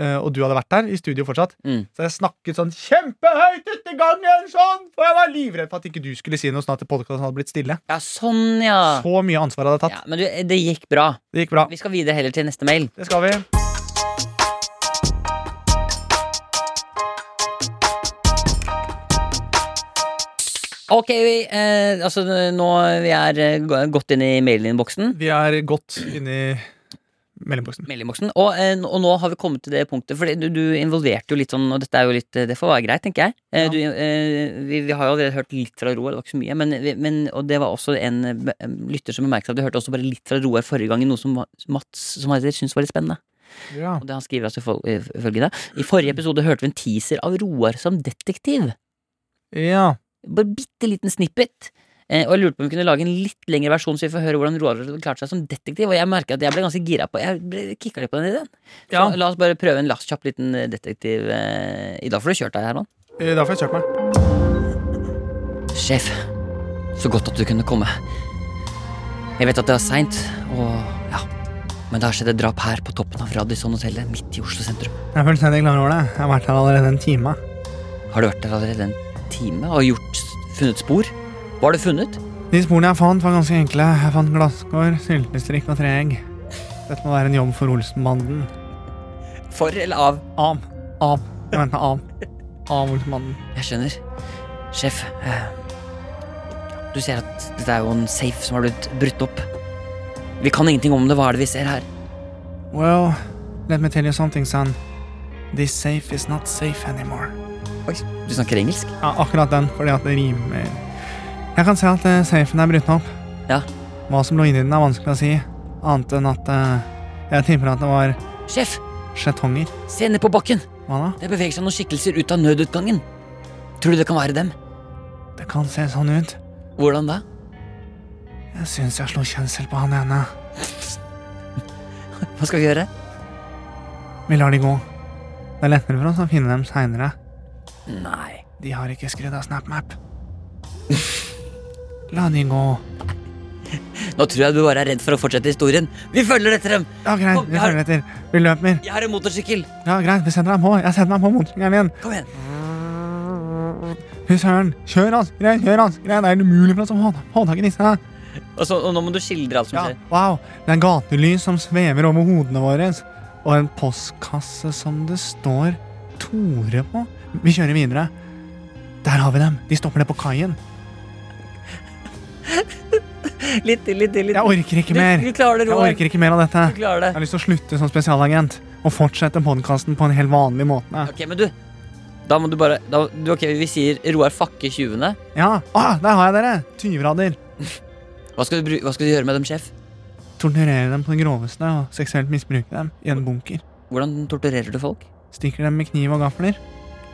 eh, og du hadde vært der i studio fortsatt. Mm. Så jeg snakket sånn kjempehøyt ute i gangen, sånn, for jeg var livredd for at ikke du skulle si noe, sånn at podkasten hadde blitt stille. Ja, sånn, ja. Så mye ansvar hadde jeg tatt. ja. Men du, det gikk bra. Det gikk bra. Vi skal videre heller til neste mail. Det skal vi. Ok, vi, eh, altså nå vi er eh, gå- godt inn i mailinnboksen. Vi er godt inni mellomboksen. Mailinnboksen. Og, eh, n- og nå har vi kommet til det punktet, for du, du involverte jo litt sånn, og dette er jo litt eh, Det får være greit, tenker jeg. Eh, Ja. du, eh, vi, vi har jo allerede hørt litt fra Roar, det var ikke så mye, men, vi- men og det var også en eh, be- lytter som bemerket at du hørte også bare litt fra Roar forrige gang i noe som Ma- Mats som heter, syntes var litt spennende. Ja. Og det han skriver altså fol- eh, følgende I forrige episode hørte vi en teaser av Roar som detektiv. ja. Bare bitte liten snippet. Eh, og jeg lurte på om vi kunne lage en litt lengre versjon, så vi får høre hvordan Roar klarte seg som detektiv. Og jeg merker at jeg ble ganske gira på Jeg ble kicka litt på den ideen. Så Ja. la oss bare prøve en last kjapp liten eh, detektiv eh, i dag, for du kjørt deg, Herman. Eh, Da får jeg kjørt meg. Sjef, så godt at du kunne komme. Jeg vet at det var seint, og ja. Men det har skjedd et drap her på toppen av Radisson-hotellet midt i Oslo sentrum. Jeg er fullstendig klar over det. Jeg har vært her allerede en time. Har du vært der allerede en time og gjort, funnet spor? Hva har du funnet? De sporene jeg fant, var ganske enkle. Jeg fant glasskår, syltestrikk og treegg. Dette må være en jobb for Olsenbanden. For eller av? Av. Av. Jeg venter av. Av Olsenbanden. Jeg skjønner. Sjef, eh, Du ser at dette er jo en safe som har blitt brutt opp. Vi kan ingenting om det. Hva er det vi ser her? Well, let me tell you something, son. This safe is not safe anymore. Du snakker engelsk? Ja, akkurat den, fordi at det rimer Jeg kan se at eh, safen er brutt opp. Ja. Hva som lå inni den, er vanskelig å si, annet enn at eh, jeg tipper at det var Sjef, skjetonger. se ned på bakken! Hva da? Det beveger seg noen skikkelser ut av nødutgangen. Tror du det kan være dem? Det kan se sånn ut. Hvordan da? Jeg syns jeg slo kjønnsel på han ene. Hva skal vi gjøre? Vi lar de gå. Det er lettere for oss å finne dem seinere. Nei. De har ikke skrudd av SnapMap. La de gå. Nå tror jeg du bare er redd for å fortsette historien. Vi følger etter dem! Ja, greit, Kom, vi jeg har- følger etter. Vi løper. Jeg har en motorsykkel! Ja, greit, vi setter deg på. Jeg setter meg på motorsykkelen igjen. Kom igjen! Fy søren. Kjør, ass. Greit, kjør, ass. Greit, det er umulig for oss å få- få tak i disse. her. Og, så, og nå må du skildre alt som Ja, skjer. wow. Det er gatelys som svever over hodene våre, og en postkasse som det står Tore på. Vi kjører videre. Der har vi dem. De stopper ned på kaien. Litt til, litt til. litt Jeg til. orker ikke mer. Du, du klarer det, Jeg Roar. orker ikke mer av dette. Du klarer Jeg det. har lyst til å slutte som spesialagent og fortsette podkasten på en helt vanlig måte. Ok, men du. Da må du bare da, du, Ok, vi sier Roar fakke tjuvene. Ja, ah, der har jeg dere! Tyvrader. Hva skal, du, bru- hva skal du gjøre med dem, sjef? Torturere dem på det groveste og seksuelt misbruke dem i en bunker. Hvordan torturerer du folk? Stikker dem med kniv og gafler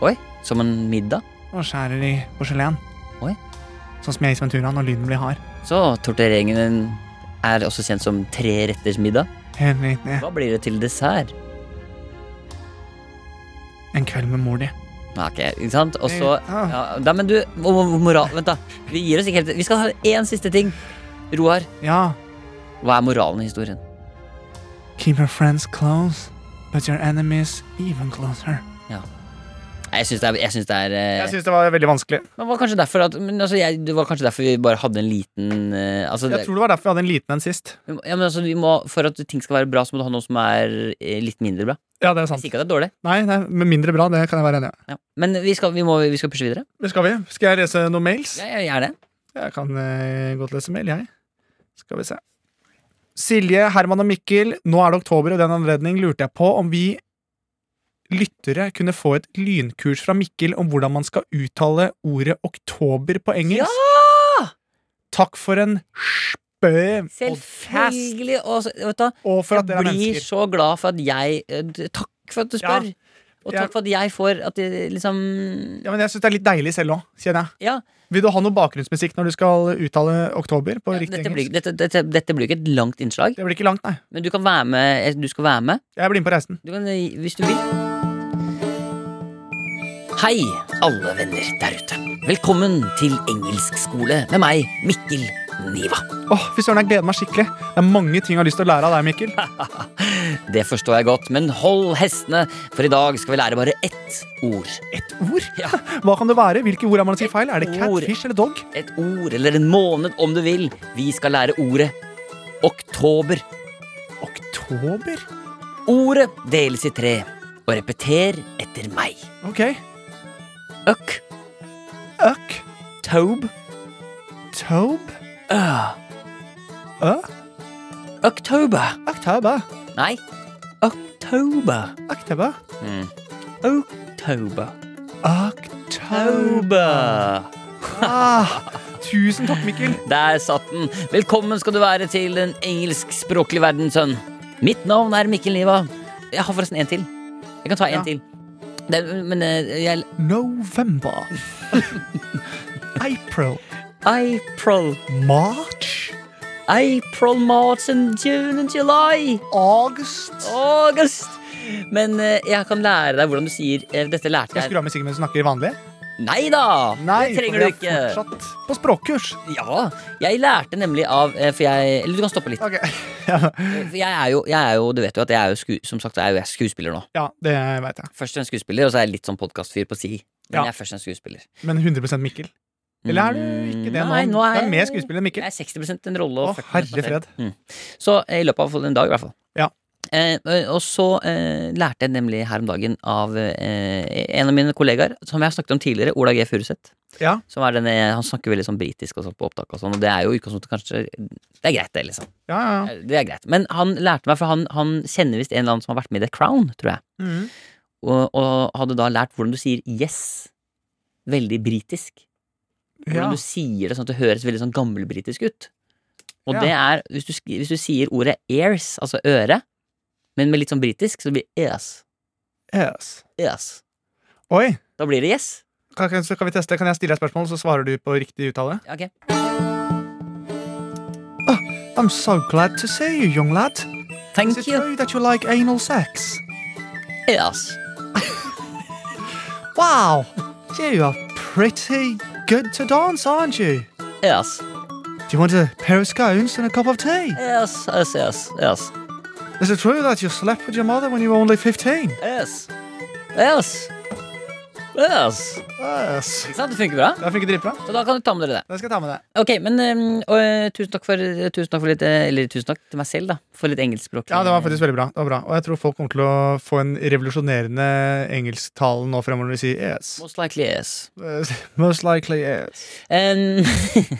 Oi, som en middag? og skjærer i porselen. Oi. Sånn som jeg i Sventura når lyden blir hard. Så tortureringen din er også kjent som tre retters middag. Helt riktig. Hva blir det til dessert? En kveld med mor di. Ja, Ok, ikke sant? Og så Ja. ja, Nei, men du, mo- mo- moral Vent, da. Vi gir oss ikke helt Vi skal ha én siste ting. Roar, Ja. hva er moralen i historien? Keep your friends close, but your enemies even closer. Nei, Jeg syns det er, jeg synes det er eh, Jeg syns det var veldig vanskelig. men det var kanskje derfor at men, altså, jeg, Det var kanskje derfor vi bare hadde en liten eh, altså, Jeg det, tror det var derfor vi hadde en liten en sist. vi må- ja, men, altså, vi må, For at ting skal være bra, så må du ha noe som er eh, litt mindre bra. Ja, det er Jeg sier ikke at det er dårlig, Nei, nei, men mindre bra, det kan jeg være enig i. ja. men vi skal, vi, må, vi skal pushe videre. Det skal vi. Skal jeg lese noen mails? Ja, ja, gjerne. Jeg kan eh, godt lese mail, jeg. Skal vi se. Silje, Herman og Mikkel, nå er det oktober, og i den anledning lurte jeg på om vi lyttere kunne få et lynkurs fra Mikkel om hvordan man skal uttale ordet oktober på engelsk. Ja! Takk for en spø podcast, Selvfølgelig. Og, så- vet du, hva? og for at dere jeg er blir mennesker. så glad for at jeg eh, d- Takk for at du spør. og jeg- takk for at jeg får at det liksom Ja, men jeg syns det er litt deilig selv òg, kjenner jeg. Ja, Vil du ha noe bakgrunnsmusikk når du skal uttale oktober på ja, riktig dette, blir, engelsk? dette, dette, dette blir ikke et langt innslag, Det blir ikke langt, nei. men du kan være med. eh, Du skal være med. Jeg blir med på reisen. Du kan, eh, hvis du vil. Hei, alle venner der ute. Velkommen til engelskskole med meg, Mikkel Niva. Åh, Fy søren, jeg gleder meg skikkelig. Det er mange ting jeg har lyst til å lære av deg, Mikkel. Det forstår jeg godt, men hold hestene, for i dag skal vi lære bare ett ord. Ett ord? Ja. Hva kan det være? Hvilke ord er man sier feil? Er det Ett ord. catfish eller dog? Et ord eller en måned, om du vil. Vi skal lære ordet oktober. Oktober? Ordet deles i tre, og repeter etter meg. Ok. Øk, Øk. tobe, Tobe. ø, Ø. oktober. Oktober. Nei, oktober. Oktober. Mm. Oktober. Oktober. Oktober. Ah, tusen takk, Mikkel. Der satt den. Velkommen skal du være til den engelskspråklige verden, sønn. Mitt navn er Mikkel Niva. Jeg har forresten en til. Jeg kan ta en Ja. til. Det, er- men eh, jeg November. April. April. March. April, March and June and July. August. August. Men eh, jeg kan lære deg hvordan du sier eh, Dette lærte Skal jeg jeg skru av musikken mens du snakker vanlig? Nei da! det for vi trenger du er ikke. fortsatt på språkkurs. Ja, Jeg lærte nemlig av eh, For jeg Eller du kan stoppe litt. Ok. Eh, For jeg er jo, jeg er jo Du vet jo at jeg er jo sku, Som sagt er jo jeg skuespiller nå. Ja, det veit jeg. Først en skuespiller, og så er jeg litt sånn podkastfyr på si. Men Ja. jeg er først en skuespiller. Men 100 Mikkel. Eller er du ikke det Mm, nei, nå? nå er Du er jeg- mer skuespiller enn Mikkel. Jeg er 60 en rolle. og Å, 40% herre selv. Mm. Så eh, i løpet av en dag, i hvert fall. Ja. Eh, og så eh, lærte jeg nemlig her om dagen av eh, en av mine kollegaer, som jeg har snakket om tidligere, Ola G. Furuseth. Ja. Som er denne, han snakker veldig sånn britisk og sånn på opptak, og sånn, og det er jo i utgangspunktet kanskje Det er greit, det, liksom. Ja, ja, ja. Det er greit. Men han lærte meg, for han, han kjenner visst en eller annen som har vært med i The Crown, tror jeg. Mhm. Og, og hadde da lært hvordan du sier yes. Veldig britisk. ja. Hvordan du sier det sånn at det høres veldig sånn gammelbritisk ut. Og Ja. det er, hvis du, sk- hvis du sier ordet ears, altså øre, men med litt sånn britisk, så blir det yes. Yes. Yes. Oi, Da blir det yes. kan, kan, så kan vi teste? Kan jeg stille deg et spørsmål, så svarer du på riktig uttale? Ja, Ok. I'm so glad to see you, young lad. Is Thank it you. true that you like anal sex? Yes. Wow, you are pretty good to dance, aren't you? Yes. Do you want a pair of scones and a cup of tea? Yes. Yes. Yes. Yes. Is it true that you slept with your mother when you were only 15? Yes. Yes. Yes. Yes. Ikke sant? Det funker bra. Det funker dritbra. Så da kan du ta med dere det. Det skal jeg ta med deg. Ok, men ehm, og, eh, tusen, takk for, tusen takk for litt eh, Eller tusen takk til meg selv, da. For litt engelskspråk. Ja, det var faktisk veldig bra. Det var bra. Og jeg tror folk kommer til å få en revolusjonerende engelsktale nå fremover når de sier yes. Most likely yes. Most likely yes. Ehm,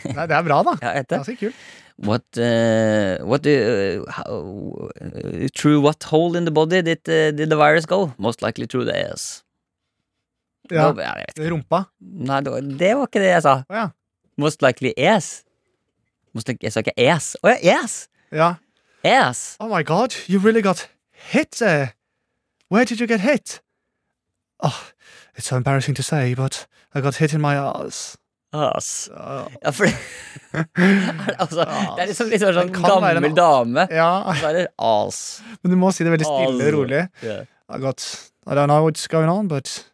Nei, det er bra, da. ja, etter. Ganske kult. What, eh, what do you- how, eh, Through what hole in the body did, eh, did the virus go? Most likely through the ass. Ja. Nå- ja, jeg vet. Rumpa. Nei, det var, det var ikke det jeg sa. Å ja. Most likely ass. Most likely, jeg sa ikke ass. Å ja, ass! ja. Ass! Oh my god, you really got hit there. Where did you get hit? Oh, it's so embarrassing to say, but I got hit in my ass. Ass. Uh, Ja, for det, altså, det er liksom litt sånn Det kan være en gammel dame. ja, Så er det ass. men du må si det veldig stille og rolig. Ja. I got I don't know what's going on, but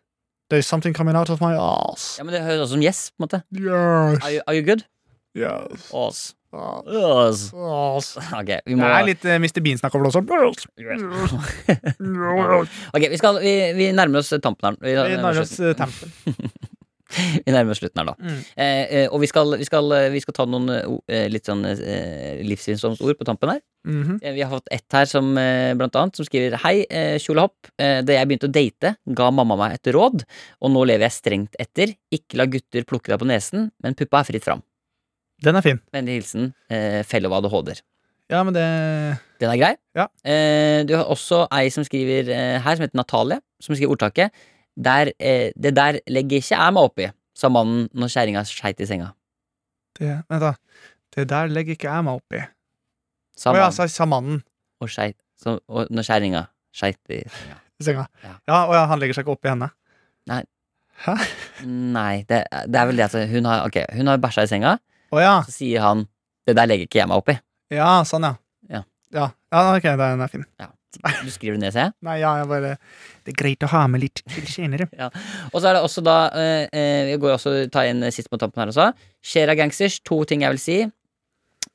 there's something coming out of my ass. Ja, men Det høres også som yes. på en måte Are Yes. you, are you good? Yes. Ass. Ass. Ass. Ass. Ok, vi Det må er litt eh, Mr. Bean-snakk over det også. Ok, vi, skal, vi, vi nærmer oss tampen her. Vi, Vi nærmer oss eh, tampen. vi nærmer oss slutten her, da. Mm. Eh, eh, og vi skal, vi, skal, vi skal ta noen eh, o- eh, litt sånn eh, livssynsord på tampen her. Mhm. Eh, Vi har fått ett her som eh, blant annet som skriver Hei, eh, kjolehopp. Eh, Da jeg begynte å date, ga mamma meg et råd, og nå lever jeg strengt etter. Ikke la gutter plukke deg på nesen, men puppa er fritt fram. Den er fin. Vennlig hilsen eh, fellow ADHD-er. Ja, men det Den er grei. Ja. Eh, du har også ei som skriver eh, her, som heter Natalie, som skriver ordtaket der, eh, 'Det der legger ikke jeg meg opp i', sa mannen når kjerringa skeit i senga. det, Vent, da. Det der legger ikke jeg meg opp i. Sa Å ja, mannen sa sa mannen og skeit, så, og når kjerringa skeit i senga. i senga. Ja. Ja, å ja, han legger seg ikke opp i henne. Nei, det, det er vel det at hun har Ok, hun har bæsja i senga, Å ja. så sier han 'Det der legger ikke jeg meg opp i'. Ja, sånn, ja. Ja. ja. ja, ok, den er fin. Du skriver det ned, ser jeg. Nei, ja, jeg bare Det er greit å ha med litt til senere. Og så er det også da eh, eh, Vi går også ta inn sist eh, på tampen her også. Shera Gangsters, to ting jeg vil si.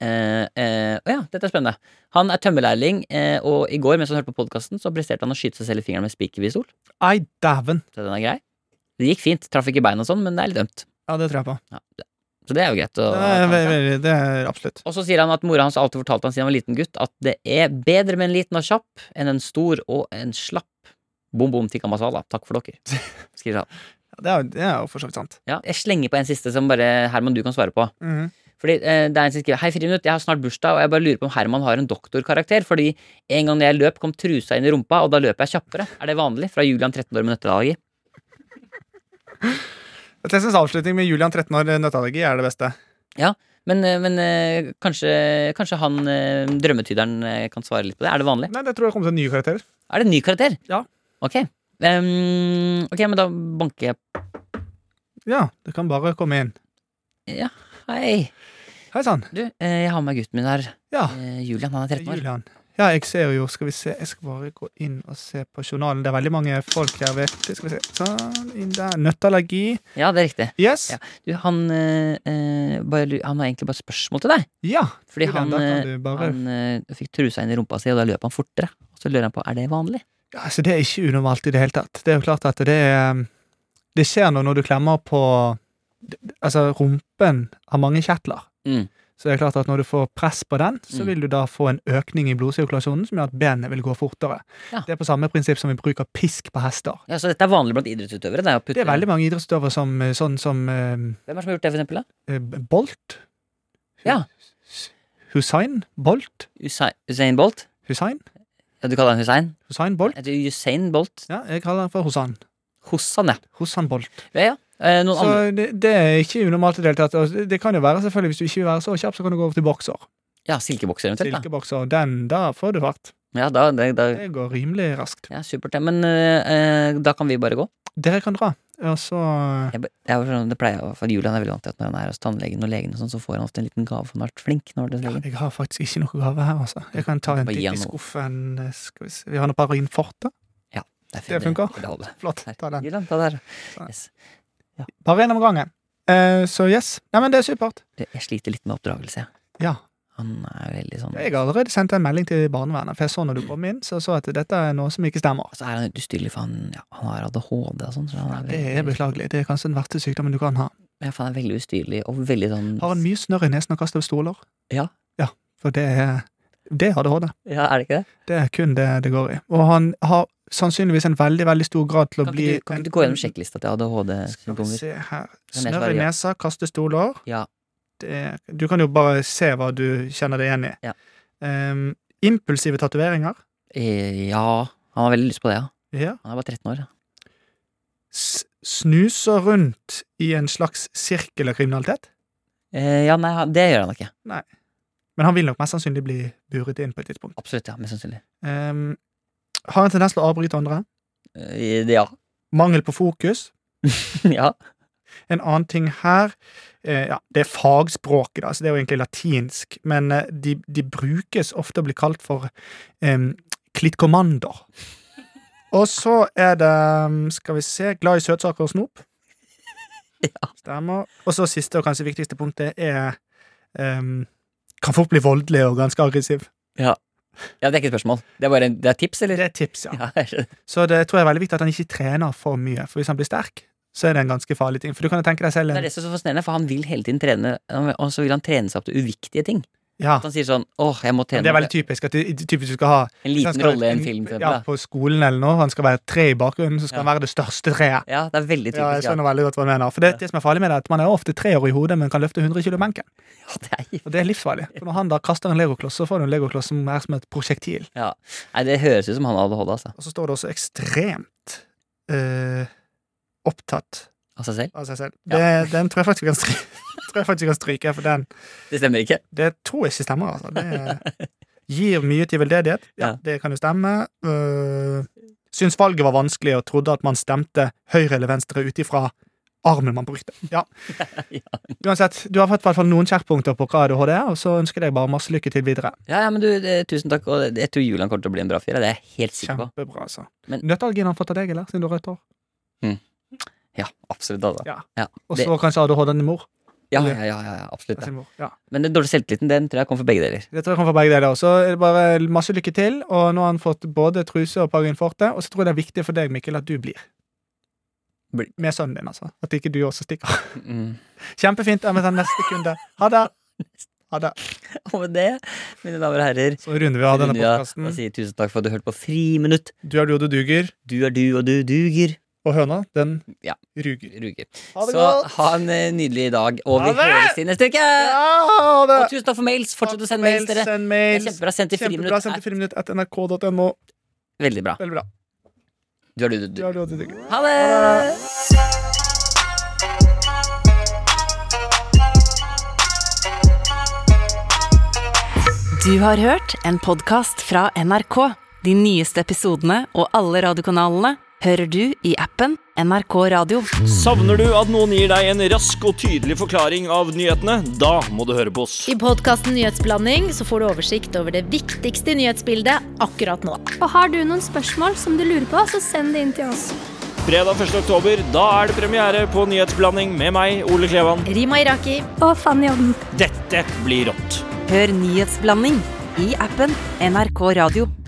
Eh, eh, å ja, dette er spennende. Han er tømmerlærling, eh, og i går mens han hørte på podkasten, så presterte han å skyte seg selv i fingeren med spikerpistol. Ei, dæven. Så den er grei. Det gikk fint. Traff ikke beina og sånn, men det er litt ømt. Ja, det tror jeg på. Så det er jo greit. Å, Det er, ve- ve- det er absolutt. og så sier han at mora hans alltid fortalte han siden han var liten gutt, at det er bedre med en liten og kjapp enn en stor og en slapp. Bom, bom, tikka masala. Takk for dere, skriver han. Ja, Det er, jo- det er jo for så vidt sant. Ja, jeg slenger på en siste som bare Herman, du kan svare på. Mhm. Fordi eh, det er en som skriver Hei, Friminutt, jeg har snart bursdag, og jeg bare lurer på om Herman har en doktorkarakter. Fordi en gang jeg løp, kom trusa inn i rumpa, og da løp jeg kjappere. Er det vanlig? Fra Julian 13 år med nøtteallergi. Jeg synes avslutning med Julian 13 år eh, nøtteallergi er det beste. Men, eh, men eh, kanskje, kanskje han eh, drømmetyderen eh, kan svare litt på det. Er det vanlig? Nei, det tror jeg kommer til nye karakterer. Er det en ny karakter? Ja. Ok. Ehm, ok, men da banker jeg Ja, du kan bare komme inn. Hei. Hei sann. Du, eh, jeg har med meg gutten min her. Ja, Eh, Julian, han er det er 13 år. Julian. Ja, jeg ser jo Skal vi se, jeg skal bare gå inn og se på journalen. Det er veldig mange folk her, vet du. Skal vi se. Sånn, inn der. Nøtteallergi. Ja, det er riktig. Yes. Ja. Du, han, eh, eh, bare, lu- han har egentlig bare et spørsmål til deg. Ja. Fordi Julian, han, da kan eh, du bare- han eh, fikk trusa inn i rumpa si, og da løp han fortere. Og så lurer han på er det vanlig. Ja, altså Det er ikke unormalt i det hele tatt. Det er jo klart at det er um, Det skjer noe når du klemmer på Altså, rumpen har mange kjertler. Mm. Så det er klart at når du får press på den, så Mm. vil du da få en økning i blodsirkulasjonen som gjør at benet vil gå fortere. Ja. Det er på samme prinsipp som vi bruker pisk på hester. Ja, Så dette er vanlig blant idrettsutøvere? Det er å putte, Det er veldig mange idrettsutøvere som eh, sånn som eh, Hvem er det som har gjort det, for eksempel? Da? eh, Bolt. Hu- Ja. Hussein Bolt. Usain, Usain Bolt? Hussein. Ja, du kaller han Hussein? Hussein Bolt. Jeg tror Usain Bolt. Ja, jeg kaller han for Hussan. Hussan, ja. Hussan Bolt. ja, ja. Eh, noen Så andre det, det er ikke unormalt i det hele tatt. Og Det kan jo være selvfølgelig Hvis du ikke vil være så kjapp, så kan du gå over til bokser. Ja, silkebokser eventuelt. Da. Silkebokser. Den, da får du fart. Ja, da, da, da, Det går rimelig raskt. ja, supert. Ja. Men eh, eh, da kan vi bare gå. Dere kan dra. Altså, Og så Jeg, ba- det, er jo sånn, det pleier jeg å- for Julian er veldig vant til at når han er hos tannlegen og legen, og sånn, så får han ofte en liten gave for han har vært flink. Når det er legen. Jeg har faktisk ikke noe gave her, altså. Jeg kan ta en Hm. Bare gi titt han i noe. skuffen. eh, Skal vi se Vi har noe Barin Forte. Det, Det funker. Det holder. Flott. Her. Ta den. Julian, ta det her. Sånn. Yes. Bare én om gangen. Eh, så yes. Nei, men det er supert. Det- Jeg sliter litt med oppdragelse. jeg. Ja. Han er veldig sånn Jeg har allerede sendt en melding til barnevernet, for jeg så når du kom inn, så jeg så at dette er noe som ikke stemmer. Og så er han litt ustyrlig, for han, ja, han har ADHD og sånn. Så han er Det er veldig, beklagelig. Det er kanskje den verste sykdommen du kan ha. ja, for han er veldig ustyrlig og veldig sånn Har han mye snørr i nesen og kaster over stoler? Ja. Ja, for det er det er ADHD. Ja, er det ikke det? Det er kun det det går i. Og han har sannsynligvis en veldig veldig stor grad til å Kan bli ikke du, kan ikke du gå gjennom sjekklista til Skal vi ADHD-symptomer? se her. jeg Snørr svare i ja? nesa, kaste stoler. Ja. Det, du kan jo bare se hva du kjenner deg igjen i. Ja. Ehm, impulsive tatoveringer. Eh, ja. Han har veldig lyst på det, ja. Ja. Han er bare 13 år. Ja. S snuser rundt i en slags sirkel av kriminalitet. Eh, ja, nei, han- det gjør han ikke. Men han vil nok mest sannsynlig bli buret inn på et tidspunkt. Absolutt, ja. Mest sannsynlig. Ehm, har en tendens til å avbryte andre. Eh, ja. Mangel på fokus. ja. En annen ting her eh, ja, Det er fagspråket, da, så det er jo egentlig latinsk, men eh, de, de brukes ofte og blir kalt for eh, klittkommander. Og så er det mm, Skal vi se Glad i søtsaker og snop. Ja. Stemmer. Og så siste og kanskje viktigste punktet er eh, Kan fort bli voldelig og ganske aggressiv. Ja, Det er ikke et spørsmål. Det er bare en, det er tips, Det eller? er et tips, ja. Ja, jeg skjønner. Så det tror jeg er veldig viktig at han ikke trener for mye, for hvis han blir sterk, så er det en ganske farlig ting. For du kan jo tenke deg selv det er en det som er så fascinerende, for han vil hele tiden trene, og så vil han trene seg opp til uviktige ting. Ja. At han sier sånn åh, jeg må Det trene er veldig typisk at du, typisk du skal ha en Så han liten skal rolle i en- en film. For Ja, eksempel, da. på skolen eller noe. Han skal være et tre i bakgrunnen, så skal Ja. han være det største treet. ja, det er veldig Ja, jeg typisk. Ja, skjønner veldig godt hva du mener. For det, Ja. det som er farlig med det, er at man er ofte tre år i hodet, men kan løfte 100 kilo benken. ja det er Og det er livsfarlig. For når han da kaster en legokloss, så får du en legokloss som er som et prosjektil. Ja. Nei, det høres ut som han har ADHD, altså. Og så står det også ekstremt eh, opptatt Av seg selv. av seg selv. Ja. Det, Den tror jeg faktisk vi kan stryke. tror jeg faktisk vi kan stryke, for den Det stemmer ikke. Det tror jeg ikke stemmer, altså. Det gir mye til veldedighet. Ja, Ja. Det kan jo stemme. Øh, syns valget var vanskelig og trodde at man stemte høyre eller venstre ut ifra armen man brukte. Ja. Uansett, du har fått i hvert fall noen skjærpunkter på hva ADHD er, og så ønsker jeg deg bare masse lykke til videre. Ja, ja, men du, det, tusen takk. Og det- jeg tror Julian kommer til å bli en bra fyr. ja, Det er jeg helt sikker på. Kjempebra, altså. Men- Nøtteallergien har fått av deg, eller? Siden du har rødt hår. Ja, absolutt. Altså. Ja. Ja, Og det, så kanskje ADHD-en din mor. ja, ja, ja, ja, ja, absolutt. Ja. Sin mor. Ja. Men den dårlige selvtilliten, den tror jeg kommer for begge deler. Det tror jeg kommer fra begge deler. Så er det bare masse lykke til, og nå har han fått både truse og Parin Forte, og så tror jeg det er viktig for deg, Mikkel, at du blir. Bli. Med sønnen din, altså. At ikke du også stikker. Mm. Kjempefint. Jeg må ta neste kunde. Ha det. Ha det. Og med det, mine damer og herrer, Så runder vi av denne runder jeg av podkasten. og sier tusen takk for at du hørte på Friminutt. Du er du, og du duger. Du er du, og du duger. Og høna, den Ja. ruger. Ruger. Ha det Så godt! ha en eh, nydelig dag, og Ha vi det! høres i neste uke! Ja, ha Ah, det! Og tusen takk for mails. Fortsett å sende mails, dere. Send Det er mails. Kjempebra. Sendt til Kjempebra. friminutt. Send til friminutt at nrk.no. er Veldig bra. Veldig bra. Du er du, du, Du du. er du, og du duger. Ha det! Du har hørt en podkast fra NRK. De nyeste episodene og alle radiokanalene hører du i appen NRK Radio. Savner du at noen gir deg en rask og tydelig forklaring av nyhetene? Da må du høre på oss. I podkasten Nyhetsblanding så får du oversikt over det viktigste nyhetsbildet akkurat nå. Og har du noen spørsmål som du lurer på, så send det inn til oss. Fredag 1. oktober, da er det premiere på Nyhetsblanding med meg, Ole Klevan. Rima Iraki, Og Fanny Odden. Dette blir rått. Hør nyhetsblanding i appen NRK Radio.